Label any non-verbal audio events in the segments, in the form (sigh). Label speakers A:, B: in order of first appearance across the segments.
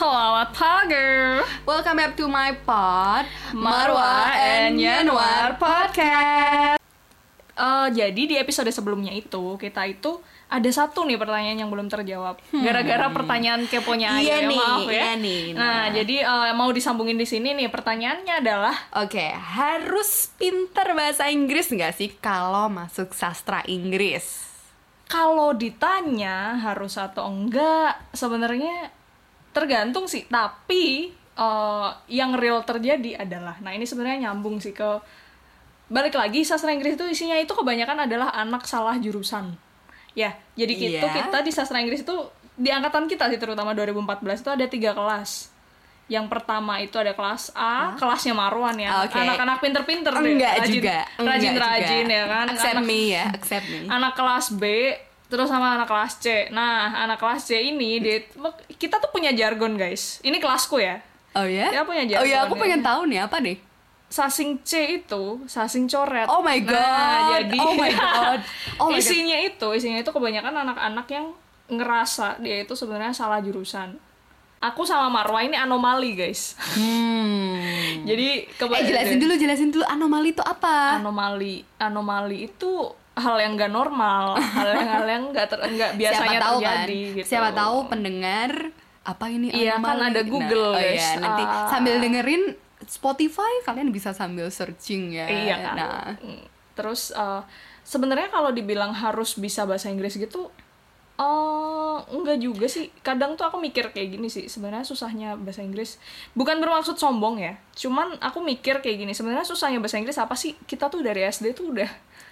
A: Selamat pagi
B: Welcome back to my pod
A: Marwa and Yanwar Podcast Eh, Jadi di episode sebelumnya itu Kita itu ada satu nih pertanyaan yang belum terjawab Gara-gara pertanyaan keponya
B: Hmm. Iya
A: Ayu, ya,
B: nih,
A: maaf ya
B: iya nih,
A: Nah jadi eh, mau disambungin di sini nih Pertanyaannya adalah
B: Oke, harus pinter bahasa Inggris nggak sih kalau masuk sastra Inggris?
A: Kalau ditanya harus atau enggak Sebenarnya tergantung sih Tapi eh, yang real terjadi adalah Nah ini sebenarnya nyambung sih ke balik lagi sastra Inggris itu isinya itu kebanyakan adalah anak salah jurusan ya jadi itu
B: Iya.
A: kita di sastra Inggris itu di angkatan kita sih terutama 2014 itu ada tiga kelas yang pertama itu ada kelas A kelasnya Marwan ya
B: Ah, Oke.
A: anak-anak pinter-pinter deh
B: Enggak
A: rajin-
B: juga, enggak
A: rajin-rajin
B: juga.
A: ya kan
B: Accept
A: Anak- Ah,
B: me ya, accept me.
A: anak kelas B terus sama anak kelas C nah anak kelas C ini dia- kita tuh punya jargon guys ini kelasku ya
B: Oh ya?
A: Dia punya
B: Oh ya,
A: jargon
B: aku
A: ya.
B: pengen tahu nih apa nih?
A: sasing C itu sasing coret.
B: Oh my God.
A: Nah, jadi
B: Oh my
A: (laughs)
B: God. Oh my God.
A: isinya itu, isinya itu kebanyakan anak-anak yang ngerasa dia itu sebenarnya salah jurusan. Aku sama Marwa ini anomali, guys.
B: Hmm.
A: jadi
B: Eh
A: kebanyakan
B: jelasin dulu, jelasin dulu anomali itu apa?
A: anomali anomali itu hal yang gak normal, hal yang hal yang nggak ter nggak biasanya
B: Siapa tahu
A: terjadi
B: kan?
A: gitu.
B: Siapa tahu pendengar apa ini
A: Iya, kan
B: anomali?
A: ada Google,
B: Nah, oh
A: guys.
B: iya, nanti
A: Ah.
B: sambil dengerin Spotify kalian bisa sambil searching ya.
A: Iya kan.
B: Nah,
A: Mm. Terus eh, sebenarnya kalau dibilang harus bisa bahasa Inggris gitu eh enggak juga sih. Kadang tuh aku mikir kayak gini sih, sebenarnya susahnya bahasa Inggris bukan bermaksud sombong ya. Cuman aku mikir kayak gini, sebenarnya susahnya bahasa Inggris apa sih? Kita tuh dari SD tuh udah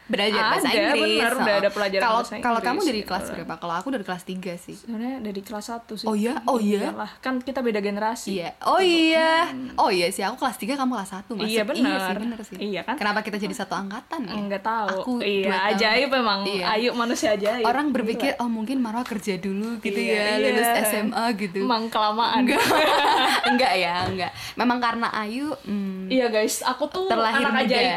B: belajar
A: Ada,
B: bahasa Inggris.
A: benar, udah
B: oh.
A: ada pelajaran
B: kalau,
A: bahasa
B: Kalau kamu
A: Inggris,
B: dari
A: gitu
B: kelas
A: kan.
B: berapa? Kalau aku dari kelas 3 sih.
A: sebenarnya dari kelas 1 sih.
B: Oh iya? Oh iya?
A: Iyalah, kan kita beda generasi.
B: Iya. Oh iya. Oh iya sih, aku kelas 3 kamu kelas 1 masih.
A: hmm. Iya,
B: Iya
A: benar.
B: sih, benar sih.
A: Iya kan?
B: Kenapa kita jadi satu angkatan ya?
A: Hmm, Enggak tahu.
B: Aku dua
A: iya,
B: tahun.
A: ajaib memang.
B: Iya.
A: Ayo manusia ajaib.
B: Orang berpikir oh mungkin Marwa kerja dulu gitu
A: Iya,
B: ya, lulus
A: iya.
B: SMA gitu.
A: Emang kelamaan. (laughs)
B: enggak. enggak ya, enggak. Memang karena Ayu hmm,
A: Iya guys, aku tuh
B: Terlahir
A: anak
B: muda. (laughs)
A: ajaib.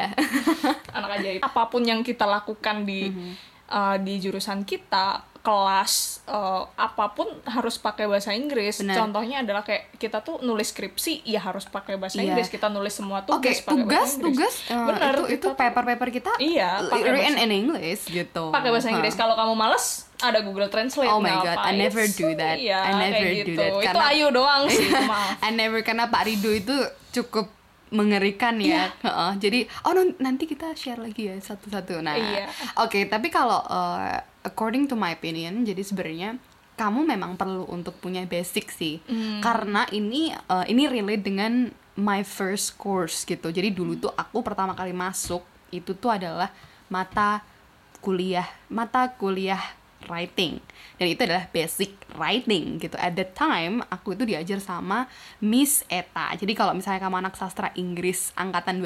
A: anak ajaib. Apapun yang kita lakukan di
B: Hmm.
A: uh, di jurusan kita, kelas uh, apapun harus pakai bahasa Inggris.
B: Benar.
A: Contohnya adalah kayak kita tuh nulis skripsi ya harus pakai bahasa
B: Iya.
A: Inggris. Kita nulis semua tugas
B: Oke,
A: pakai bahasa
B: tugas,
A: Inggris.
B: tugas, eh,
A: Benar,
B: itu itu
A: kita tuh
B: paper-paper kita
A: Iya, pakai
B: written in English gitu.
A: pakai bahasa
B: Hah.
A: Inggris. kan? Kalau kamu males, ada Google Translate.
B: Oh my
A: nggak
B: God, I
A: apa-apa.
B: never do that.
A: Iya,
B: I never
A: kayak
B: do
A: gitu.
B: that,
A: Itu
B: karena-
A: ayu doang
B: (laughs)
A: sih, maaf.
B: I never karena Pak Rido itu cukup mengerikan
A: Iya.
B: ya. Heeh, jadi oh no, nanti kita share lagi ya satu-satu. Nah,
A: Iya.
B: oke tapi kalau uh, according to my opinion, jadi sebenarnya kamu memang perlu untuk punya basic sih, karena ini uh, ini relate dengan my first course gitu. Jadi dulu tuh aku pertama kali masuk itu tuh adalah mata kuliah mata kuliah writing dan itu adalah basic writing gitu at the time aku itu diajar sama Miss Eta jadi kalau misalnya kamu anak sastra Inggris angkatan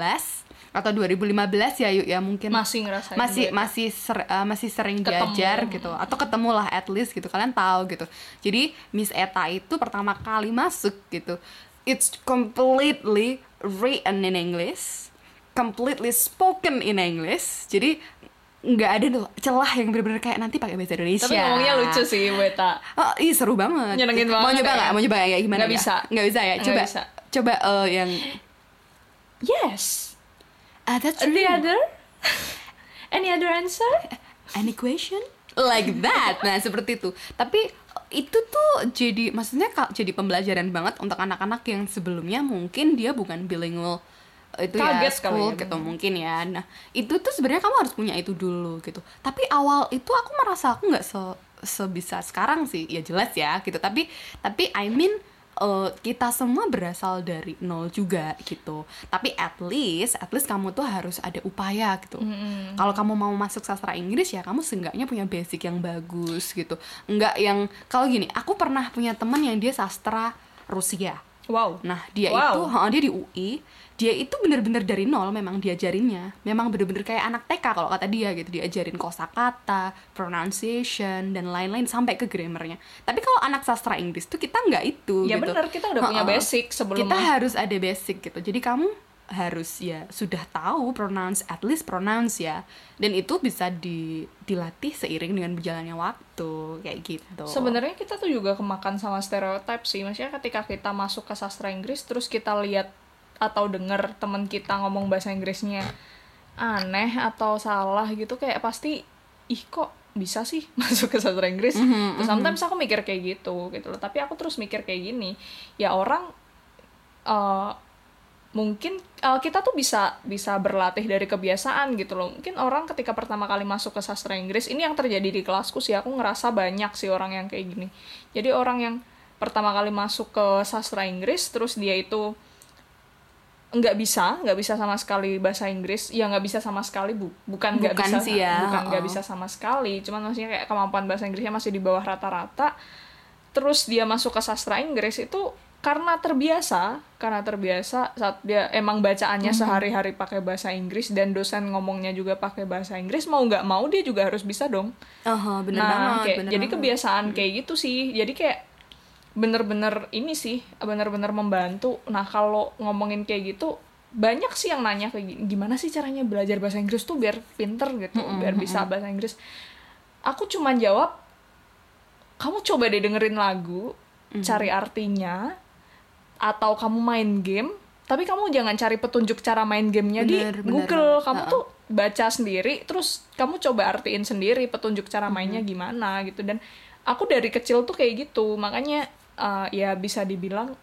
B: 2014 atau 2015 ya yuk ya mungkin
A: Masih ngerasain
B: masih
A: beda.
B: masih ser- eh, masih sering
A: Ketemu.
B: diajar gitu atau ketemulah at least gitu kalian tahu gitu jadi Miss Eta itu pertama kali masuk gitu it's completely written in English completely spoken in English jadi nggak ada tuh celah yang bener-bener kayak nanti pakai bahasa Indonesia
A: Tapi ngomongnya lucu sih, Weta.
B: Oh, iya seru banget.
A: Nyenengin
B: Mau
A: banget
B: nyoba
A: ya.
B: nggak? Mau nyoba nggak? Gimana?
A: Nggak
B: ya?
A: bisa.
B: Nggak bisa ya.
A: Nggak
B: Coba,
A: bisa.
B: coba eh, yang
A: Yes.
B: ah that's
A: The
B: true.
A: other? Any other answer?
B: Any question? Like that. Nah seperti itu. Tapi itu tuh jadi maksudnya ka- jadi pembelajaran banget untuk anak-anak yang sebelumnya mungkin dia bukan bilingual eh, itu ya
A: Kaget kali
B: school
A: ya,
B: gitu mungkin ya. Nah itu tuh sebenarnya kamu harus punya itu dulu gitu. Tapi awal itu aku merasa aku nggak se sebisa sekarang sih. Ya jelas ya gitu. Tapi tapi I mean eh, kita semua berasal dari nol juga gitu. Tapi at least, at least kamu tuh harus ada upaya gitu. Kalau kamu mau masuk sastra Inggris ya kamu seenggaknya punya basic yang bagus gitu. Enggak yang kalau gini, aku pernah punya teman yang dia sastra Rusia.
A: Wow.
B: Nah, dia
A: Wow.
B: itu, ha, dia di UI, dia itu bener-bener dari nol memang diajarinnya. Memang bener-bener kayak anak TK kalau kata dia gitu, diajarin kosakata, pronunciation dan lain-lain sampai ke grammarnya. Tapi kalau anak sastra Inggris tuh kita nggak itu
A: Ya
B: gitu.
A: bener, kita udah punya
B: Ha-ha.
A: basic sebelum-
B: Kita harus ada basic gitu. Jadi kamu harus ya sudah tahu pronounce at least pronounce ya dan itu bisa di dilatih seiring dengan berjalannya waktu kayak gitu
A: Sebenarnya kita tuh juga kemakan sama stereotip sih. Maksudnya ketika kita masuk ke sastra Inggris terus kita lihat atau denger teman kita ngomong bahasa Inggrisnya aneh atau salah gitu kayak pasti ih kok bisa sih (laughs) masuk ke sastra Inggris.
B: Mhm,
A: Terus sometimes aku mikir kayak gitu gitu loh. Tapi aku terus mikir kayak gini, ya orang eh, mungkin eh, kita tuh bisa bisa berlatih dari kebiasaan gitu loh mungkin orang ketika pertama kali masuk ke sastra Inggris ini yang terjadi di kelasku sih aku ngerasa banyak sih orang yang kayak gini jadi orang yang pertama kali masuk ke sastra Inggris terus dia itu nggak bisa nggak bisa sama sekali bahasa Inggris ya nggak bisa sama sekali bu- bukan nggak
B: Bukan
A: bisa
B: sih ya,
A: bukan nggak
B: oh.
A: bisa sama sekali cuman maksudnya kayak kemampuan bahasa Inggrisnya masih di bawah rata-rata terus dia masuk ke sastra Inggris itu karena terbiasa karena terbiasa saat dia emang bacaannya sehari-hari pakai bahasa Inggris dan dosen ngomongnya juga pakai bahasa Inggris mau nggak mau dia juga harus bisa dong
B: Aha, Oh, bener
A: nah
B: banget
A: kayak-
B: bener
A: jadi
B: banget. Hmm.
A: kebiasaan kayak gitu sih jadi kayak bener-bener ini sih bener-bener membantu nah kalau ngomongin kayak gitu banyak sih yang nanya kayak gini, gimana sih caranya belajar bahasa Inggris tuh biar pinter gitu
B: Hmm,
A: biar bisa bahasa Inggris aku cuman jawab kamu coba deh dengerin lagu,
B: Hmm.
A: cari artinya, atau kamu main game, tapi kamu jangan cari petunjuk cara main gamenya di
B: Bener, bener
A: Google.
B: banget.
A: Kamu
B: Ha-ha.
A: tuh baca sendiri, terus kamu coba artiin sendiri petunjuk cara
B: Mm-hmm.
A: mainnya gimana gitu. Dan aku dari kecil tuh kayak gitu, makanya eh, ya bisa dibilang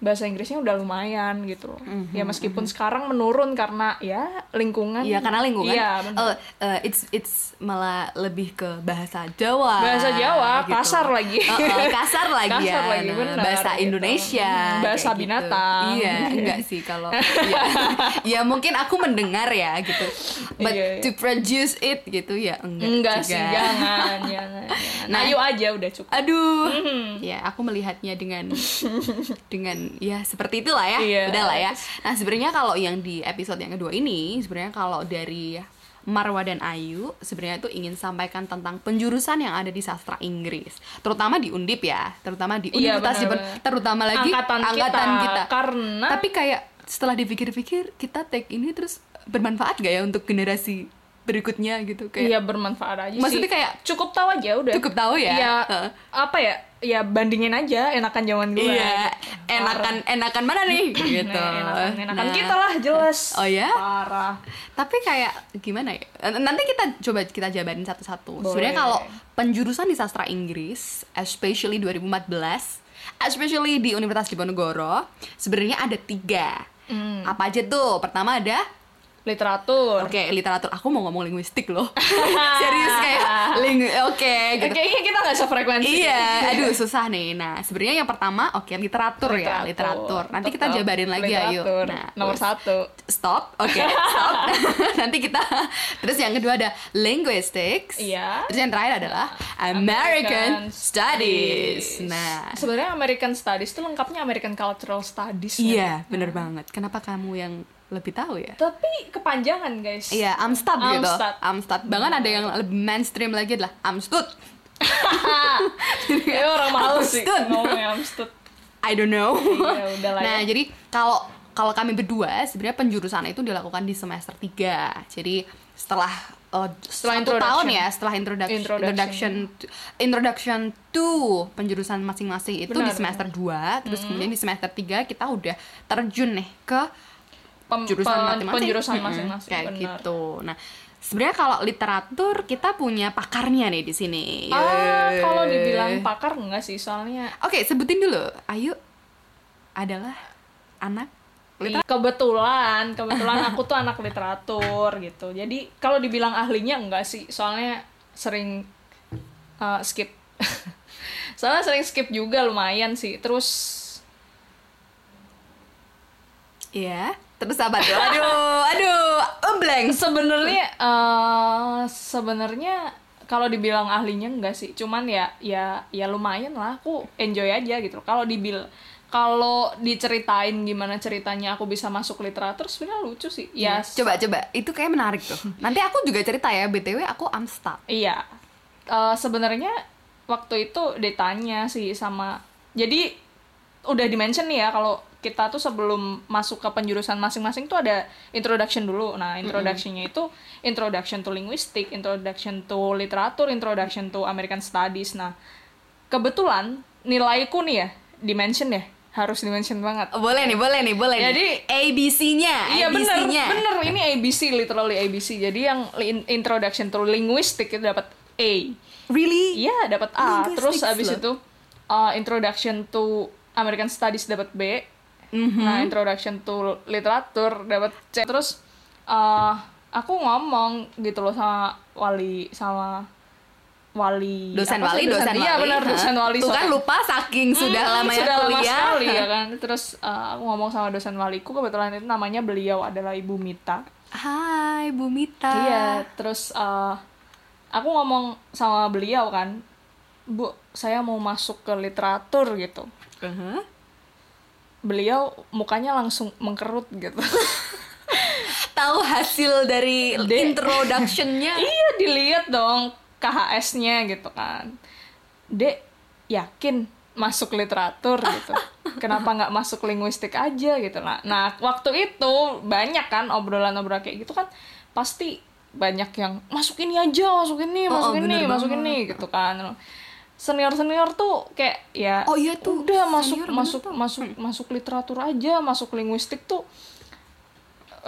A: bahasa Inggrisnya udah lumayan gitu loh.
B: Mm-hmm,
A: Ya meskipun sekarang menurun karena ya lingkungan.
B: Iya karena lingkungan.
A: Iya, bener.
B: Eh, eh, it's it's malah lebih ke bahasa Jawa.
A: Bahasa Jawa, kasar lagi.
B: Eh, eh,
A: (laughs)
B: kasar lagi ya.
A: Kasar lagi, benar,
B: bahasa
A: gitu.
B: Indonesia.
A: Hmm, bahasa
B: kayak gitu.
A: binatang.
B: Iya,
A: (laughs)
B: enggak sih kalau ya, ya mungkin aku mendengar ya gitu. But
A: Iya, iya.
B: to produce it gitu ya enggak,
A: Enggak
B: juga.
A: sih, jangan, (laughs) jangan. jangan.
B: Nah,
A: Ayo aja udah cukup. Mm-hmm.
B: Aduh. Ya, aku melihatnya dengan (laughs) dengan ya seperti itulah ya.
A: Iya.
B: Udah lah ya. Nah, sebenarnya kalau yang di episode yang kedua ini sebenarnya kalau dari Marwa dan Ayu sebenarnya itu ingin sampaikan tentang penjurusan yang ada di sastra Inggris, terutama di Undip ya, terutama di
A: Iya,
B: Universitas Dipen-
A: benar-benar.
B: terutama lagi
A: Angkatan kita, karena-
B: Tapi kayak setelah dipikir-pikir kita take ini terus bermanfaat gak ya untuk generasi berikutnya gitu kayak
A: Iya bermanfaat aja
B: Maksudnya
A: sih.
B: kayak-
A: cukup tahu aja udah.
B: Cukup tahu ya?
A: Iya.
B: Heeh.
A: Apa ya? Ya bandingin aja enakan zaman dulu.
B: Iya, enakan enakan mana nih
A: (clears throat)
B: gitu.
A: Nah, enakan, enakan
B: Nah,
A: kita lah jelas.
B: Oh ya?
A: Parah.
B: Tapi kayak gimana ya? Eh, Nanti kita coba kita jabarin satu-satu.
A: Boleh.
B: Sebenarnya kalau penjurusan di sastra Inggris, especially 2014, especially di Universitas Diponegoro, sebenarnya ada tiga.
A: Hmm.
B: Apa aja tuh? Pertama ada
A: Literatur.
B: Oke, literatur. Aku mau ngomong linguistik
A: (laughs)
B: loh. (laughs) Serius kayak lingu oke gitu.
A: Eh, Kayaknya kita nggak sefrekuensi. (laughs)
B: Iya, aduh susah nih. Nah, sebenarnya yang pertama, oke literatur, ya, literatur. Nanti kita
A: Tetap
B: jabarin lagi ayo.
A: literatur.
B: Nah,
A: Nomor
B: terus-
A: satu.
B: Stop, oke,
A: (laughs)
B: stop. (laughs) Nanti kita terus yang kedua ada linguistics.
A: Iya.
B: Terus yang terakhir adalah American, Studies. Nah,
A: Sebenarnya American Studies itu lengkapnya American Cultural Studies. ya.
B: iya, bener banget. Kenapa kamu yang lebih tahu ya?
A: Tapi kepanjangan guys. (laughs)
B: Iya, Amstad gitu.
A: Amstad.
B: Amstad. Bahkan ada yang lebih mainstream lagi adalah Amstud.
A: Ya orang males sih
B: Amstud.
A: ngomongnya Amstud.
B: I don't know.
A: (laughs) Iya, udah lah ya.
B: nah, jadi kalau kalau kami berdua sebenarnya penjurusan itu dilakukan di semester 3. Jadi setelah eh, satu
A: introduction.
B: tahun ya, setelah introduction
A: Introduction.
B: introduction to- introduction to penjurusan masing-masing itu di
A: Benar, Mm-hmm.
B: semester 2, terus kemudian di semester 3 kita udah terjun nih ke
A: Pem-
B: jurusan
A: pen-
B: masing-masing.
A: Mm, penjurusan
B: Mm-mm,
A: masing-masing
B: kayak
A: benar.
B: gitu. Nah, sebenarnya kalau literatur kita punya pakarnya nih di sini.
A: Ah,
B: Yeay.
A: kalau dibilang pakar enggak sih, soalnya
B: Oke, sebutin dulu. Ayu adalah anak
A: kebetulan, kebetulan aku tuh anak literatur gitu. Jadi kalau dibilang ahlinya enggak sih, soalnya sering uh, skip. (laughs) soalnya sering skip juga lumayan sih. Terus
B: ya. Terus apa tuh? Aduh, aduh, blank.
A: sebenarnya eh, sebenarnya kalau dibilang ahlinya enggak sih cuman ya ya ya lumayan lah aku enjoy aja gitu kalau dibil kalau diceritain gimana ceritanya aku bisa masuk literatur sebenarnya lucu sih ya s-
B: Coba coba, itu kayak menarik tuh. Nanti aku juga cerita ya, BTW aku Amstab.
A: iya Eh, sebenarnya waktu itu ditanya sih sama jadi udah dimention nih ya kalau kita tuh sebelum masuk ke penjurusan masing-masing tuh ada introduction dulu. Nah, introductionnya itu introduction to linguistik, introduction to literatur, introduction to American studies. Nah, kebetulan nilaiku nih ya, dimension ya, harus dimention banget.
B: Oh, Boleh nih, boleh nih, boleh
A: Jadi-
B: nih. ABC-nya,
A: Iya bener,
B: ABC-nya.
A: bener ini ABC literally ABC. Jadi yang li- introduction to linguistic itu dapat A.
B: Really?
A: Iya dapat A.
B: Linguistics
A: Terus abis
B: loh.
A: itu uh, introduction to American Studies dapat B.
B: Mhm.
A: Nah introduction to literatur dapat C. Terus uh, aku ngomong gitu loh sama wali sama wali
B: Dosen
A: apa sih?
B: wali, dosen wali.
A: iya benar
B: Hah?
A: dosen wali
B: Tuh kan
A: sorry.
B: lupa saking sudah
A: Hmm,
B: lama ya
A: sudah lama
B: kuliah.
A: sekali ya kan terus eh, aku ngomong sama dosen waliku kebetulan itu namanya beliau adalah ibu Mita
B: Hai, Bu Mita.
A: iya terus eh, aku ngomong sama beliau kan bu saya mau masuk ke literatur gitu
B: Uh-huh.
A: beliau mukanya langsung mengkerut gitu (laughs)
B: Tahu hasil dari
A: De-
B: introduction-nya?
A: iya dilihat dong KHS-nya gitu kan dek yakin masuk literatur
B: (laughs)
A: gitu kenapa nggak masuk linguistik aja gitu lah nah waktu itu banyak kan obrolan-obrolan kayak gitu kan pasti banyak yang masuk ini aja masuk ini
B: Oh,
A: masuk
B: oh,
A: ini
B: bener
A: masuk
B: banget.
A: ini gitu kan senior senior tuh kayak ya
B: Oh iya tuh,
A: udah
B: senior
A: masuk
B: bener
A: masuk
B: tuh.
A: masuk masuk literatur aja masuk linguistik tuh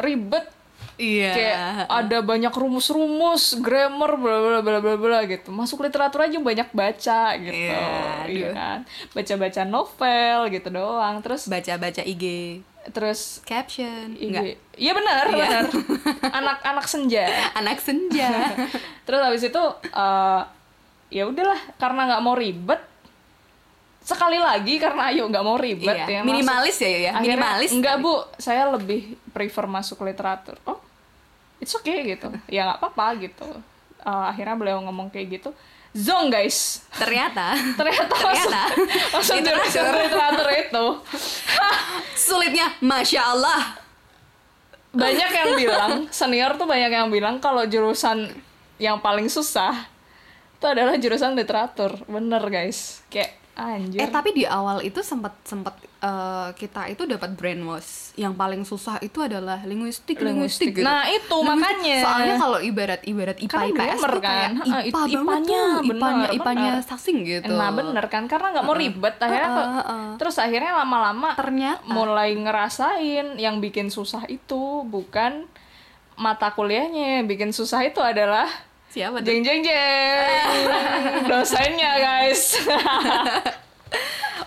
A: ribet
B: (laughs) Iya.
A: kayak ada banyak rumus-rumus, grammar, bla bla bla bla bla gitu. Masuk literatur aja banyak baca gitu,
B: Iya,
A: iya
B: aduh.
A: kan? Baca-baca novel gitu doang. Terus
B: Baca-baca IG
A: terus
B: caption. Enggak.
A: iya iya benar,
B: Iya.
A: benar. Anak-anak senja.
B: (laughs) Anak senja.
A: (laughs) Terus habis itu eh, ya udahlah karena nggak mau ribet sekali lagi karena ayo nggak mau ribet
B: Iya,
A: ya. masuk.
B: Minimalis ya, ya, ya.
A: Akhirnya,
B: Minimalis.
A: Enggak bu, saya lebih prefer masuk literatur. Oh, it's okay gitu. ya nggak apa-apa gitu. Eh, akhirnya beliau ngomong kayak gitu. Zong guys.
B: Ternyata
A: Ternyata,
B: Ternyata.
A: masuk, masuk jurusan
B: Literatur.
A: literatur itu
B: (laughs) sulitnya Masya Allah.
A: banyak yang bilang senior tuh banyak yang bilang kalau jurusan yang paling susah itu adalah jurusan literatur. Bener guys. Kayak anjir.
B: Eh tapi di awal itu sempat sempat eh, kita itu dapat brainwash. Yang paling susah itu adalah linguistik
A: Linguistik.
B: linguistik. gitu.
A: Nah, itu makanya.
B: Soalnya kalau ibarat-ibarat IPA
A: Karena
B: IPS
A: grammar
B: tuh kayak
A: kan.
B: IPA,
A: Ah, it-
B: banget
A: IPA-nya,
B: tuh.
A: bener,
B: IPA-nya IPA-nya
A: bener.
B: sasing gitu.
A: Nah bener kan karena nggak mau ribet akhirnya
B: Uh-uh,
A: kok-
B: uh-uh.
A: terus akhirnya lama-lama
B: Ternyata.
A: mulai ngerasain yang bikin susah itu bukan mata kuliahnya yang bikin susah itu adalah
B: Siapa tuh?
A: jeng jeng
B: (laughs)
A: jeng dosennya guys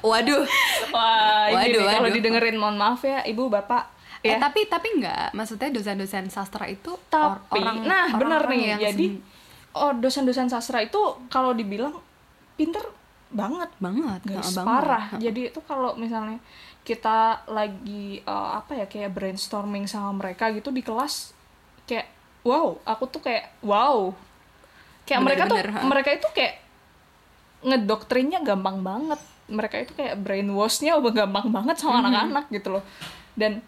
B: Waduh.
A: wah ini
B: Waduh,
A: nih, kalau
B: waduh.
A: didengerin mohon maaf ya ibu bapak ya
B: Eh tapi tapi enggak, maksudnya dosen-dosen sastra itu or-
A: tapi
B: orang
A: nah
B: orang-orang
A: benar nih
B: yang
A: jadi
B: sen-
A: oh dosen-dosen sastra itu kalau dibilang pinter banget
B: banget,
A: guys
B: heeh, banget.
A: parah jadi itu kalau misalnya kita lagi eh, apa ya kayak brainstorming sama mereka gitu di kelas kayak wow aku tuh kayak wow kayak mereka tuh
B: Bener-bener, ha.
A: mereka itu kayak ngedoktrinnya gampang banget mereka itu kayak brainwashnya udah gampang banget
B: Mhm.
A: sama anak-anak gitu loh dan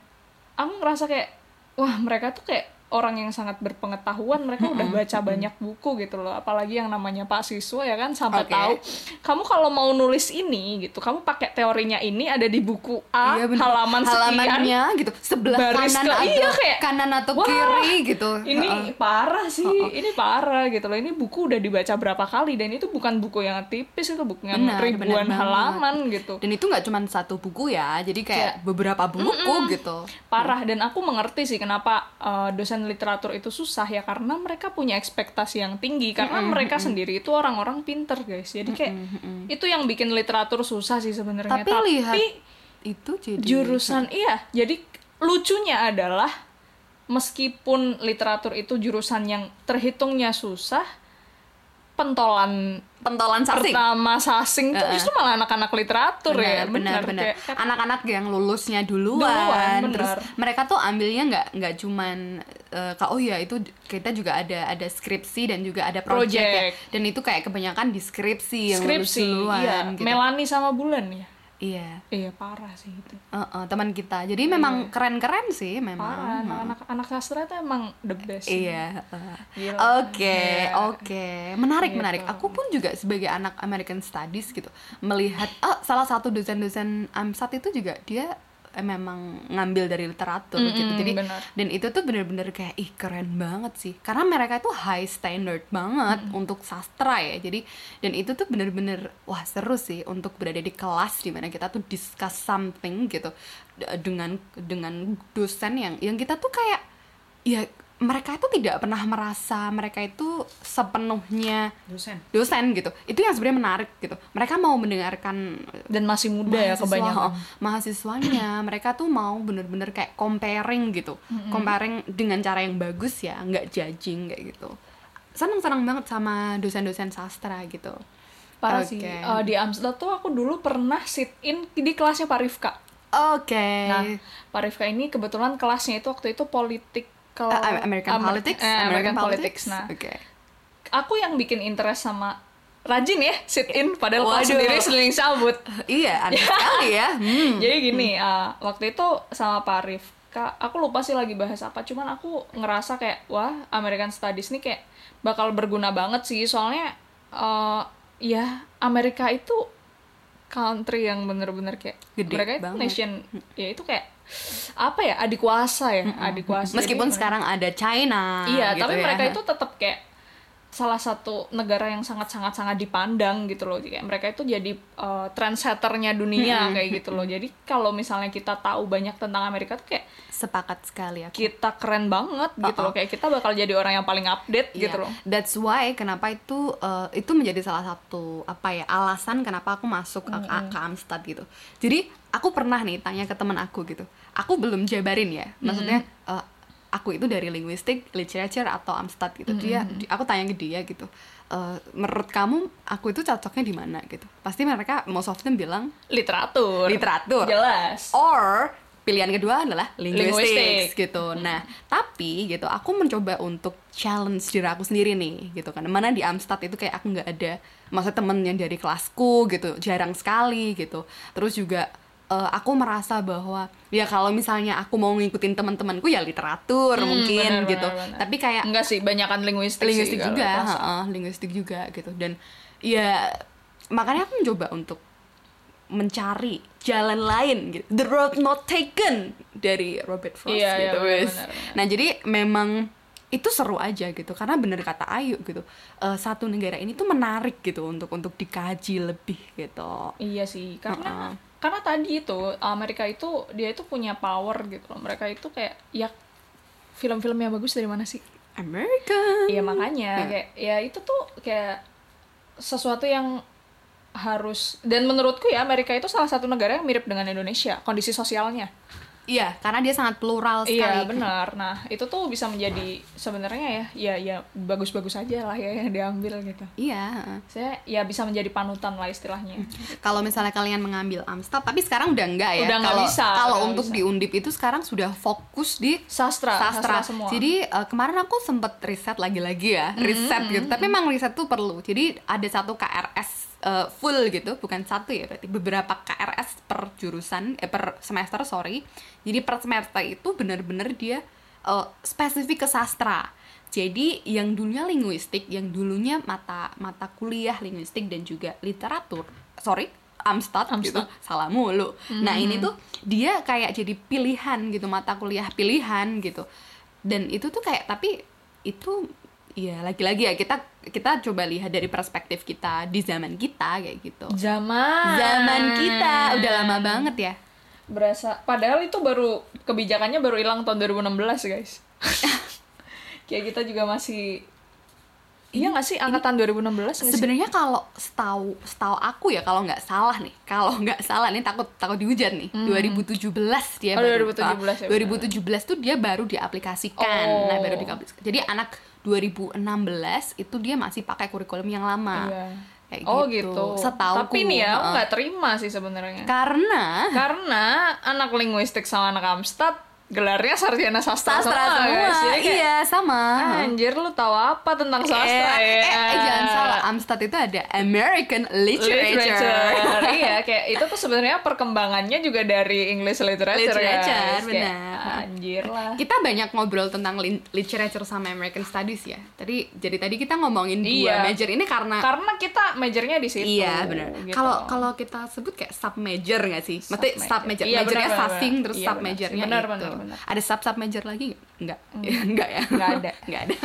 A: aku ngerasa kayak wah mereka tuh kayak orang yang sangat berpengetahuan mereka
B: Mhm.
A: udah baca banyak buku gitu loh apalagi yang namanya pak siswa ya kan sampai
B: Oke.
A: tahu kamu kalau mau nulis ini gitu kamu pakai teorinya ini ada di buku A
B: Iya, bener.
A: Ah, halaman sekian
B: halamannya gitu sebelah
A: baris
B: kanan
A: ke-
B: atau
A: iya, kayak,
B: kanan atau
A: wah,
B: kiri gitu
A: ini
B: Heeh.
A: parah sih ini parah gitu loh ini buku udah dibaca berapa kali dan itu bukan buku yang tipis itu buku yang
B: Benar, benar
A: ribuan
B: banget.
A: halaman gitu
B: dan itu nggak cuma satu buku ya jadi kayak beberapa buku gitu
A: parah dan aku mengerti sih kenapa uh, dosen literatur itu susah ya karena mereka punya ekspektasi yang tinggi karena mereka sendiri itu orang-orang pinter guys jadi kayak itu yang bikin literatur susah sih sebenarnya
B: tapi, lihat itu jadi
A: jurusan iya jadi lucunya adalah meskipun literatur itu jurusan yang terhitungnya susah pentolan
B: pentolan sasing
A: pertama sasing tuh justru malah anak-anak literatur ya
B: benar benar benar
A: Kayak-
B: anak-anak yang lulusnya duluan,
A: Duluan,
B: terus
A: benar.
B: mereka tuh ambilnya nggak nggak cuman eh, ka- oh ya itu d- kita juga ada ada skripsi dan juga ada project, ya.
A: Project.
B: dan itu kayak kebanyakan di skripsi yang lulus
A: skripsi
B: duluan
A: iya
B: gitu.
A: Melani sama Bulan ya
B: iya
A: iya parah sih itu
B: Heeh, teman kita jadi memang keren-keren sih memang
A: Iya. parah anak anak sastra itu emang the best sih.
B: Iya.
A: Gila.
B: Oke, oke. Menarik, menarik. Aku pun juga sebagai anak eh, American Studies gitu melihat oh, salah satu dosen-dosen AMSAT itu juga dia eh, memang ngambil dari literatur gitu
A: Mm-mm,
B: jadi
A: benar.
B: dan itu tuh bener-bener kayak ih keren banget sih karena mereka itu high standard banget untuk sastra ya jadi dan itu tuh bener-bener wah seru sih untuk berada di kelas dimana kita tuh discuss something gitu d- dengan dengan dosen yang yang kita tuh kayak ya mereka itu tidak pernah merasa mereka itu sepenuhnya
C: dosen
B: dosen gitu itu yang sebenarnya menarik gitu mereka mau mendengarkan
A: dan masih muda ya
B: mahasiswa,
A: kebanyakan.
B: oh, mahasiswanya mereka tuh mau bener-bener kayak comparing gitu comparing dengan cara yang bagus ya nggak judging kayak gitu senang-senang banget sama dosen-dosen sastra gitu
A: Parah
B: Oke.
A: sih. Eh, di Amsterdam tuh aku dulu pernah sit in di kelasnya Pak Rifka.
B: oke Eh,
A: Nah, Pak Rifka ini kebetulan kelasnya itu waktu itu politik
B: Eh, American
A: Amer-
B: politics
A: eh, American, politics. Nah,
B: oke
A: aku yang bikin interest sama rajin ya sit in padahal kelas
B: Waduh.
A: sendiri sering cabut.
B: iya
A: (laughs)
B: aneh sekali ya Hmm.
A: Jadi gini, eh, waktu itu sama Pak Rifka, aku lupa sih lagi bahas apa, cuman aku ngerasa kayak wah American Studies nih kayak bakal berguna banget sih, soalnya eh, ya Amerika itu country yang bener-bener kayak
B: Gede
A: mereka itu
B: banget. Hmm.
A: nation, ya itu kayak apa ya adikuasa ya, adikuasa. Jadi
B: meskipun
A: mereka-
B: sekarang ada China
A: Iya,
B: gitu
A: tapi
B: ya.
A: mereka itu tetap kayak salah satu negara yang sangat-sangat sangat dipandang gitu loh. Kayak mereka itu jadi uh, trendsetternya dunia kayak gitu loh. Jadi kalau misalnya kita tahu banyak tentang Amerika tuh kayak
B: sepakat sekali aku
A: kita keren banget gitu loh. Kayak kita bakal jadi orang yang paling update
B: Uh-uh. Iya,
A: gitu loh.
B: That's why kenapa itu eh, itu menjadi salah satu apa ya alasan kenapa aku masuk ke, ke Amstad gitu. Jadi aku pernah nih tanya ke teman aku gitu. Aku belum jabarin ya. Maksudnya eh, aku itu dari linguistik, literature atau Amstad gitu. Dia di- aku tanya ke dia gitu. "Eh, menurut kamu aku itu cocoknya di mana gitu. Pasti mereka most of them bilang
A: Literatur.
B: Literatur.
A: Jelas.
B: or pilihan kedua adalah linguistics
A: Linguistics. Hmm.
B: gitu. Nah, tapi gitu aku mencoba untuk challenge diri aku sendiri nih gitu kan. Mana di Amstad itu kayak aku nggak ada masa temen yang dari kelasku gitu, jarang sekali gitu. Terus juga eh, aku merasa bahwa ya kalau misalnya aku mau ngikutin teman-temanku ya literatur
A: Hmm,
B: mungkin
A: benar,
B: gitu.
A: benar, benar.
B: Tapi kayak
A: Enggak sih, banyakan linguistik, sih
B: linguistik
A: kalau
B: juga,
A: kelas.
B: heeh, linguistik juga gitu. Dan ya makanya aku mencoba untuk mencari jalan lain gitu. The road not taken dari Robert Frost
A: Iya, iya,
B: gitu,
A: benar,
B: wes.
A: benar, benar.
B: Nah, jadi memang itu seru aja gitu karena bener kata Ayu gitu. eh, satu negara ini tuh menarik gitu untuk untuk dikaji lebih gitu.
A: Iya sih, karena
B: Heeh.
A: karena tadi itu Amerika itu dia itu punya power gitu loh. Mereka itu kayak ya film-film yang bagus dari mana sih?
B: America.
A: Iya makanya
B: Hmm.
A: kayak ya itu tuh kayak sesuatu yang harus dan menurutku ya Amerika itu salah satu negara yang mirip dengan Indonesia kondisi sosialnya.
B: Iya, karena dia sangat plural sekali.
A: Iya benar. Nah itu tuh bisa menjadi sebenarnya ya ya ya bagus-bagus aja lah ya yang diambil gitu.
B: Iya, heeh.
A: Saya ya bisa menjadi panutan lah istilahnya.
B: kalau misalnya kalian mengambil Amstad tapi sekarang udah enggak ya
A: Udah nggak
B: kalau
A: bisa,
B: kalau
A: udah nggak
B: untuk
A: bisa.
B: di Undip itu sekarang sudah fokus di
A: Sastra, sastra,
B: sastra,
A: semua.
B: jadi eh, kemarin aku sempet riset lagi-lagi ya riset gitu tapi emang riset tuh perlu jadi ada satu KRS eh, full gitu bukan satu ya berarti beberapa KRS per jurusan eh, per semester sorry jadi per semester itu bener-bener dia eh, spesifik ke sastra jadi yang dulunya linguistik yang dulunya mata mata kuliah linguistik dan juga literatur sorry Amstad, gitu
A: Amstad.
B: salah mulu. Nah ini tuh dia kayak jadi pilihan gitu mata kuliah pilihan gitu. Dan itu tuh kayak tapi itu ya lagi-lagi ya kita kita coba lihat dari perspektif kita di zaman kita kayak gitu.
A: Zaman
B: Zaman kita udah lama banget ya.
A: berasa padahal itu baru kebijakannya baru hilang tahun 2016 guys (laughs) kayak kita juga masih iya nggak sih angkatan 2016 nggak Iya sih?
B: Sebenarnya kalau setahu setahu aku ya kalau nggak salah nih, kalau nggak salah nih takut takut dihujat nih. 2017 dia
A: Hmm. Oh,
B: baru ah,
A: 2017 ya,
B: 2017 tuh dia baru diaplikasikan.
A: Oh.
B: Nah, baru diaplikasikan. Jadi anak 2016 itu dia masih pakai kurikulum yang lama.
A: Iya.
B: Ah, Kayak
A: oh gitu,
B: Setauku, Ah.
A: tapi nih ya aku
B: heeh.
A: nggak terima sih sebenarnya
B: karena
A: karena anak linguistik sama anak amstad gelarnya sarjana sastra,
B: sastra
A: semua,
B: semua,
A: guys. ya, Jadi kayak, "Ah,
B: iya sama
A: Anjir lu tahu apa tentang sastra ya?
B: eh, eh, jangan salah Amstad itu ada American Literature,
A: Literature. iya, kayak itu tuh sebenarnya perkembangannya juga dari English literature,
B: Literature,
A: guys. Kayak,
B: benar.
A: anjir lah.
B: kita banyak ngobrol tentang lin- literature sama American Studies ya tadi jadi tadi kita ngomongin dua
A: Iya.
B: major ini karena
A: Karena kita majornya di situ.
B: Iya benar.
A: gitu.
B: Kalau kalau kita sebut kayak sub major nggak sih? Maksudnya
A: Submajor.
B: sub major,
A: Iya,
B: majornya
A: benar, benar,
B: sasing
A: benar.
B: terus
A: Iya,
B: submajornya sub
A: benar.
B: majornya
A: Benar,
B: itu.
A: benar, benar.
B: Ada sub sub major lagi nggak? Nggak, (laughs) nggak ya.
A: Hmm. Nggak ada.
B: nggak ada.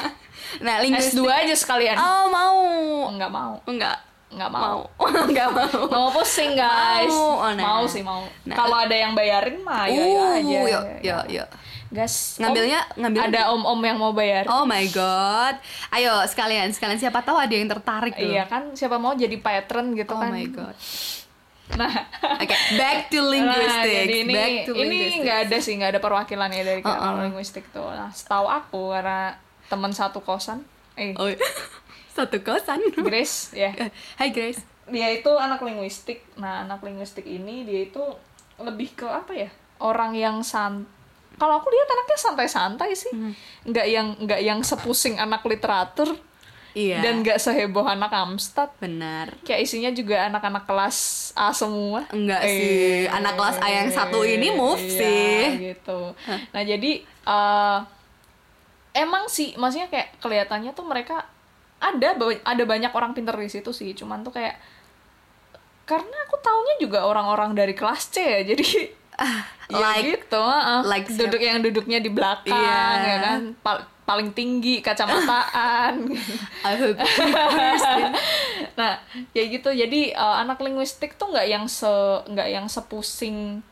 B: Nah linguistik.
A: S2 aja sekalian.
B: Oh mau.
A: Nggak mau.
B: Nggak.
A: Nggak mau.
B: Mau. (laughs) Nggak mau.
A: Mau pusing guys.
B: Mau. Oh, nah.
A: Mau sih mau.
B: Nah.
A: Kalau ada yang bayarin mah ya aja.
B: Uh, yuk,
A: ya, ya.
B: yuk, yuk.
A: Gas. om,
B: Ngambilnya- ngambilnya
A: ada om-om yang mau bayar.
B: Oh my god. Ayo sekalian, sekalian siapa tahu ada yang tertarik tuh.
A: Iya kan siapa mau jadi patron gitu
B: gitu. Oh
A: kan.
B: my god.
A: Nah.
B: Oke, back to
A: Nah,
B: linguistics.
A: jadi ini
B: back to
A: ini
B: linguistics.
A: nggak ada sih nggak ada perwakilannya dari
B: Uh-uh.
A: kalangan linguistik tuh. Nah, setahu aku karena teman satu kosan, eh
B: Oh, (laughs) satu kosan.
A: Grace ya,
B: Hai Grace.
A: dia itu anak linguistik. Nah, anak linguistik ini dia itu lebih ke apa ya? Orang yang san kalau aku lihat anaknya santai-santai sih,
B: Hmm.
A: nggak yang nggak yang sepusing anak literatur
B: Iya.
A: dan nggak seheboh anak Amstad.
B: benar.
A: Kayak isinya juga anak-anak kelas A semua. Eh,
B: Enggak sih. Anak kelas A yang satu ini move
A: Iya,
B: sih.
A: gitu nah jadi eh, emang sih maksudnya kayak kelihatannya tuh mereka ada ba- ada banyak orang pinter di situ sih cuman tuh kayak karena aku taunya juga orang-orang dari kelas C ya jadi (laughs) ya
B: Like-
A: gitu heeh.
B: like siapa?
A: duduk yang duduknya di belakang
B: Iya.
A: ya kan Pal- paling tinggi kacamataan
B: (laughs) I
A: (laughs)
B: hope.
A: nah kayak gitu jadi eh, anak linguistik tuh nggak yang se nggak yang sepusing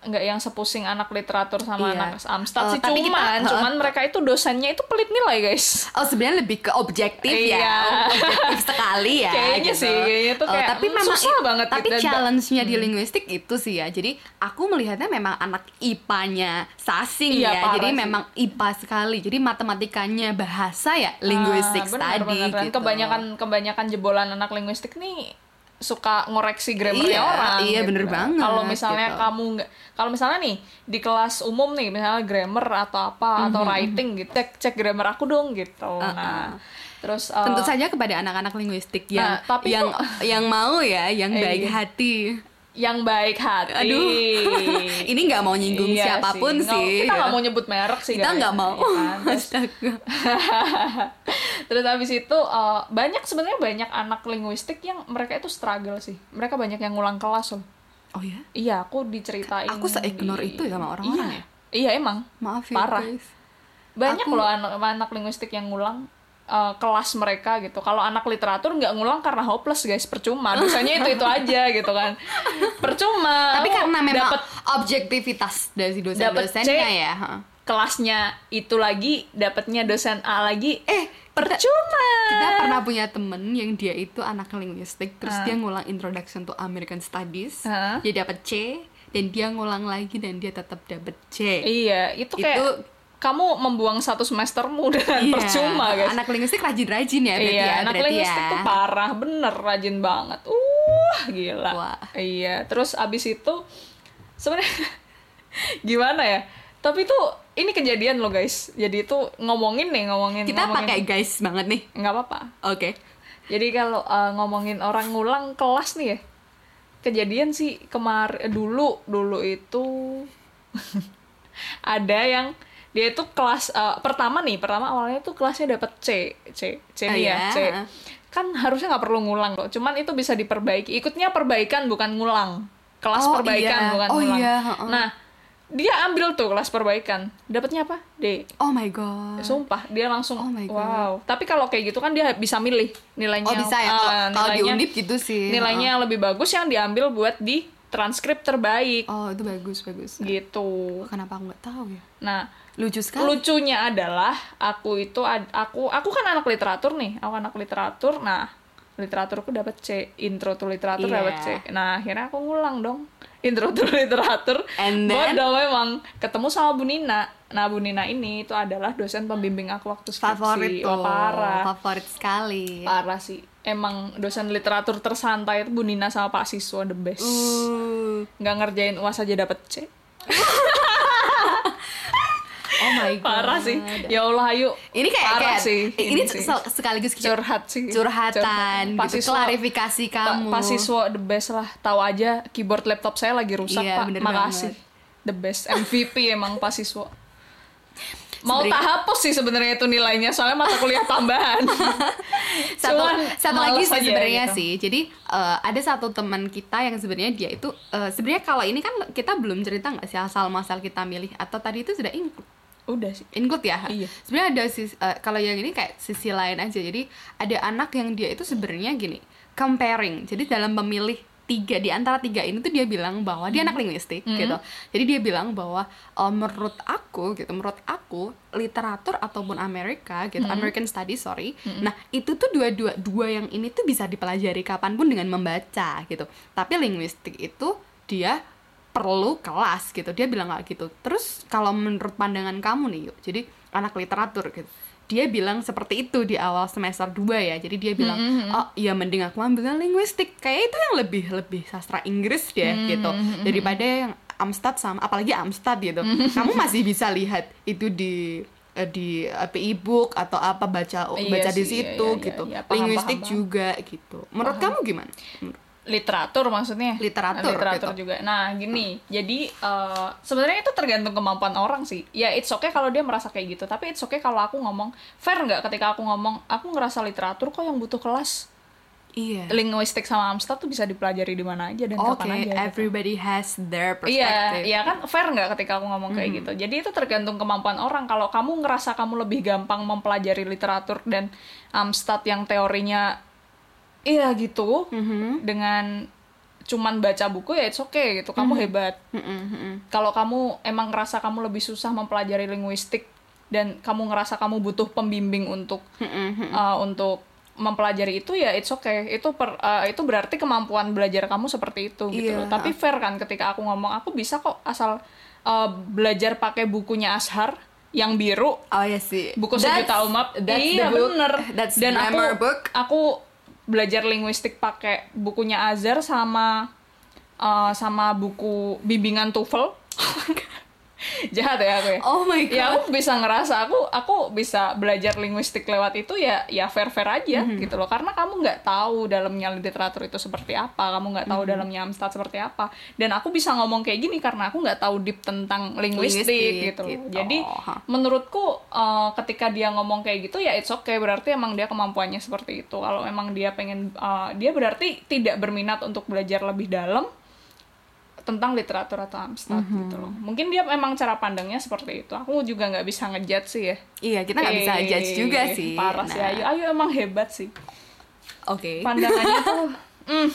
A: nggak yang sepusing anak literatur sama
B: Iya.
A: anak Amstad
B: Eh,
A: sih
B: tapi
A: cuman
B: kita-
A: cuman mereka itu dosennya itu pelit nilai guys
B: (laughs) Oh sebenarnya lebih ke objektif
A: Iya.
B: ya, objektif sekali ya.
A: Kayaknya
B: gitu.
A: sih, kayaknya tuh
B: Oh,
A: kayak,
B: tapi
A: hmm,
B: memang
A: susah banget Hmm.
B: Tapi
A: kita-
B: challenge-nya di linguistik itu sih ya. Jadi aku melihatnya memang anak IPA-nya sasing
A: Iya,
B: ya.
A: parah
B: Jadi
A: sih.
B: memang IPA sekali. Jadi matematikanya bahasa ya linguistik
A: Ah, benar,
B: tadi.
A: benar. Dan
B: gitu.
A: kebanyakan kebanyakan jebolan anak linguistik nih suka ngoreksi grammarnya
B: Iya,
A: orang. gitu.
B: iya, bener banget,
A: Kalau misalnya
B: gitu.
A: kamu nggak, kalau misalnya nih di kelas umum nih, misalnya grammar atau apa
B: Mhm,
A: atau writing gitu, cek cek grammar aku dong gitu. Nah, terus eh,
B: Tentu saja kepada anak-anak linguistik
A: Nah,
B: yang
A: tapi
B: yang
A: kok-
B: yang mau ya, yang
A: Iya.
B: baik hati.
A: yang baik hati. (laughs)
B: Aduh, (laughs) ini nggak mau nyinggung
A: Iya
B: siapapun
A: Nggak-
B: sih.
A: Kita nggak mau nyebut merek sih.
B: Kita
A: guys.
B: nggak mau.
A: Iya
B: (laughs)
A: kan? Terus-
B: Astaga.
A: Terus habis itu eh, banyak sebenarnya banyak anak linguistik yang mereka itu struggle sih. Mereka banyak yang ngulang kelas loh.
B: Oh ya,
A: Iya, aku diceritain.
B: Aku se-ignore
A: di-
B: itu ya sama orang-orang
A: iya. Iya, emang.
B: maaf ya
A: Parah.
B: guys.
A: Banyak
B: Aku-
A: loh anak, anak linguistik yang ngulang eh, kelas mereka gitu. Kalau anak literatur nggak ngulang karena hopeless guys, percuma. Dosanya itu itu aja gitu
B: (laughs)
A: kan. Percuma.
B: Tapi
A: Lu
B: karena
A: Oh,
B: memang
A: dapet
B: objektivitas dari si
A: Dapet
B: dosen-dosennya
A: C.
B: ya. ha.
A: kelasnya itu lagi, dapatnya dosen A lagi, eh percuma.
B: Kita pernah punya temen yang dia itu anak linguistik, terus dia ngulang introduction to American Studies,
A: Ah.
B: dia dapat C, dan dia ngulang lagi dan dia tetap dapat C.
A: Iya, itu kayak
B: Itu-
A: kamu membuang satu semestermu (laughs) dengan
B: Iya.
A: percuma guys.
B: Anak linguistik rajin-rajin ya berarti ya.
A: iya, anak
B: berarti
A: linguistik
B: ya.
A: tuh parah bener, rajin banget. Uh, gila.
B: Wah.
A: Iya, terus abis itu sebenarnya (laughs) gimana ya? Tapi tuh ini kejadian loh guys. Jadi itu ngomongin nih, ngomongin.
B: Kita
A: ngomongin.
B: pakai guys banget nih.
A: nggak apa-apa.
B: Oke.
A: Jadi kalau uh, ngomongin orang ngulang kelas nih ya, kejadian sih kemar eh, dulu dulu itu (laughs) ada yang dia itu kelas uh, pertama nih pertama awalnya tuh kelasnya dapat C C C
B: Ah,
A: nih ya
B: ya.
A: C kan harusnya nggak perlu ngulang kok cuman itu bisa diperbaiki ikutnya perbaikan bukan ngulang kelas
B: Oh, iya.
A: perbaikan bukan
B: Oh,
A: ngulang
B: iya, heeh.
A: nah dia ambil tuh kelas perbaikan dapatnya apa D
B: Oh my god.
A: Sumpah, dia langsung
B: Oh my God.
A: wow. Tapi kalau kayak gitu kan dia bisa milih nilainya.
B: Oh bisa
A: eh,
B: ya kalau- kalau di
A: nilainya-
B: Undip gitu sih.
A: Nilainya yang lebih bagus yang diambil buat di transkrip terbaik
B: Oh itu bagus bagus.
A: gitu.
B: Kenapa aku nggak tahu ya?
A: Nah,
B: Lucu sekali.
A: lucunya adalah aku itu ad- aku aku kan anak literatur nih. Aku anak literatur. Nah, literaturku dapat C, intro to literatur
B: Iya.
A: dapat C. Nah, akhirnya aku ngulang dong. (laughs) Intro to literatur.
B: And then?
A: Bodoh memang ketemu sama Bu Nina. Nah, Bu Nina ini itu adalah dosen pembimbing aku waktu skripsi.
B: Favorit
A: Wah,
B: tuh.
A: parah.
B: Favorit sekali.
A: parah sih emang dosen literatur tersantai itu Bu Nina sama Pak Siswa the best
B: Uh.
A: nggak ngerjain uas aja dapet C
B: Oh my god.
A: parah sih ya Allah ayo
B: Ini kayak,
A: parah
B: kayak-
A: sih
B: ini,
A: sih.
B: se- sekaligus kita-
A: curhat sih
B: curhatan
A: Pak
B: gitu,
A: siswa-
B: klarifikasi
A: Pak-
B: kamu.
A: Pak siswa the best lah tahu aja keyboard laptop saya lagi rusak
B: Iya,
A: pak
B: bener
A: makasih the best MVP emang Pak
B: (laughs)
A: siswa mau
B: Sebenernya-
A: tak hapus sih sebenarnya itu nilainya soalnya mata kuliah tambahan
B: (laughs) satu
A: Cuman
B: satu
A: males
B: lagi sih
A: aja
B: sebenarnya
A: gitu.
B: sih jadi eh, ada satu teman kita yang sebenarnya dia itu eh, sebenarnya kalau ini kan kita belum cerita nggak sih asal masal kita milih atau tadi itu sudah include
A: udah sih
B: include ya
A: Iya.
B: sebenarnya ada sis- eh, kalau yang ini kayak sisi lain aja jadi ada anak yang dia itu sebenarnya gini comparing jadi dalam memilih tiga di antara tiga ini tuh dia bilang bahwa dia anak linguistik gitu jadi dia bilang bahwa eh, menurut aku gitu menurut aku literatur ataupun Amerika gitu American Studies sorry nah itu tuh dua-dua dua yang ini tuh bisa dipelajari kapanpun dengan membaca gitu tapi linguistik itu dia perlu kelas gitu dia bilang nggak gitu terus kalau menurut pandangan kamu nih yuk jadi anak literatur gitu dia bilang seperti itu di awal semester 2 ya jadi dia bilang
A: Hmm,
B: oh ya mending aku ambil linguistik kayak itu yang lebih lebih sastra Inggris deh
A: Hmm,
B: gitu daripada yang Amstad sama apalagi Amstad gitu
A: Hmm,
B: kamu masih bisa lihat itu di eh, di eh, PI book atau apa baca
A: Iya
B: baca di
A: sih, iya,
B: situ
A: iya, iya,
B: gitu
A: iya, paham,
B: linguistik
A: paham, paham.
B: juga gitu menurut kamu gimana
A: literatur maksudnya
B: Literatur,
A: literatur
B: gitu.
A: juga nah gini jadi eh, sebenarnya itu tergantung kemampuan orang sih ya it's okay kalau dia merasa kayak gitu tapi it's okay kalau aku ngomong fair nggak ketika aku ngomong aku ngerasa literatur kok yang butuh kelas
B: iya
A: linguistik sama Amstrad tuh bisa dipelajari di mana aja dan
B: Oke,
A: kapan aja gitu.
B: everybody has
A: Iya,
B: their perspective.
A: iya kan fair nggak ketika aku ngomong kayak gitu. Jadi itu tergantung kemampuan orang. Kalau kamu ngerasa kamu lebih gampang mempelajari literatur dan Amstad yang teorinya iya gitu dengan cuman baca buku ya it's okay gitu. Kamu hebat.
B: Mm-mm, mm-mm.
A: Kalau kamu emang ngerasa kamu lebih susah mempelajari linguistik dan kamu ngerasa kamu butuh pembimbing untuk uh, untuk mempelajari itu ya it's okay itu per, uh, itu berarti kemampuan belajar kamu seperti itu gitu
B: Iya.
A: loh tapi fair kan ketika aku ngomong aku bisa kok asal uh, belajar pakai bukunya Ashar yang biru
B: Oh ya sih.
A: buku
B: That's-
A: sejuta umat
B: that's
A: iya
B: the book.
A: bener
B: That's
A: dan aku
B: grammar book.
A: aku belajar linguistik pakai bukunya Azhar sama uh, sama buku bimbingan TOEFL (laughs) jahat ya aku ya
B: Oh my
A: ya
B: god.
A: aku bisa ngerasa aku aku bisa belajar linguistik lewat itu ya ya fair fair aja
B: Mhm.
A: gitu loh karena kamu nggak tahu dalamnya literatur itu seperti apa kamu nggak
B: Mhm.
A: tahu dalamnya Amstrad seperti apa dan aku bisa ngomong kayak gini karena aku nggak tahu deep tentang linguistik,
B: Linguistik,
A: gitu loh.
B: gitu.
A: jadi
B: Ha.
A: menurutku eh, ketika dia ngomong kayak gitu ya it's okay berarti emang dia kemampuannya seperti itu kalau emang dia pengen eh, dia berarti tidak berminat untuk belajar lebih dalam tentang literatur atau Amstrad
B: Mhm.
A: gitu loh. Mungkin dia memang cara pandangnya seperti itu. Aku juga nggak bisa ngejudge sih ya.
B: Iya, kita nggak bisa
A: Eh,
B: judge juga sih.
A: Parah sih
B: Nah,
A: Ayu. Ayu emang hebat sih.
B: Oke.
A: Pandangannya
B: (laughs)
A: tuh mm,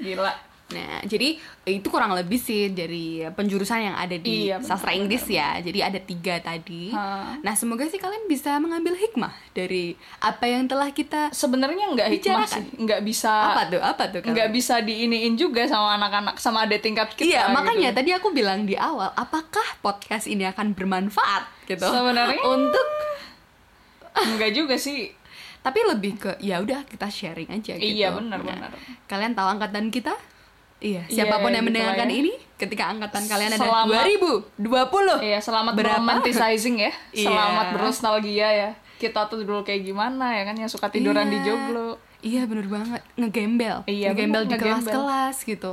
A: gila.
B: Nah, jadi itu kurang lebih sih dari penjurusan yang ada di
A: Iya, benar,
B: sastra Inggris ya. Jadi ada tiga tadi.
A: Ha.
B: Nah, semoga sih kalian bisa mengambil hikmah dari apa yang telah kita
A: Sebenarnya nggak hikmah
B: Bicarakan.
A: sih. Nggak bisa
B: apa tuh apa tuh kalian?
A: nggak bisa diiniin juga sama anak-anak sama adik tingkat kita.
B: Iya,
A: gitu.
B: makanya tadi aku bilang di awal, apakah podcast ini akan bermanfaat gitu?
A: Sebenarnya-
B: untuk
A: nggak juga sih.
B: tapi lebih ke ya udah kita sharing aja gitu.
A: Iya, benar, benar.
B: Nah, Kalian tahu angkatan kita? Iya,
A: Iya,
B: siapapun yang
A: gitu
B: mendengarkan
A: lah ya.
B: ini ketika angkatan kalian ada
A: Selamat-
B: 2020.
A: Iya, selamat
B: Berapa?
A: romanticizing ya.
B: (laughs) Iya.
A: Selamat bernostalgia ya. Kita tuh dulu kayak gimana ya kan yang suka tiduran di
B: Iya.
A: joglo.
B: Iya, bener banget. Ngegembel.
A: Iya,
B: ngegembel
A: bener,
B: di
A: ngegembel.
B: kelas-kelas gitu.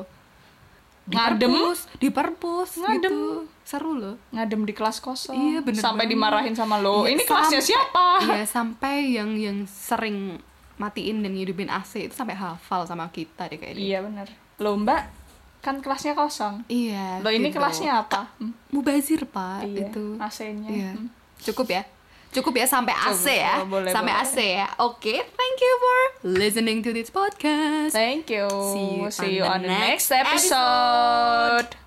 B: Di
A: Ngadem.
B: perpus, di perpus
A: Ngadem.
B: gitu. Seru loh.
A: ngadem di kelas kosong
B: Iya, bener
A: Gitu. sampai
B: banget.
A: dimarahin sama lo
B: Iya,
A: ini kelasnya
B: sampai-
A: siapa
B: Iya, sampai yang yang sering matiin dan ngidupin AC itu sampai hafal sama kita deh kayaknya.
A: iya bener lo mbak kan kelasnya kosong
B: Iya.
A: lo ini
B: gitu.
A: kelasnya apa Hmm,
B: mubazir pak
A: iya
B: itu
A: AC-nya Hmm.
B: Iya. cukup ya cukup ya sampai AC
A: Cukup.
B: ya
A: Oh, boleh,
B: sampai
A: boleh.
B: AC ya oke thank you for listening to this podcast
A: thank you
B: See you
A: on,
B: on the
A: the next
B: next episode.
A: episode.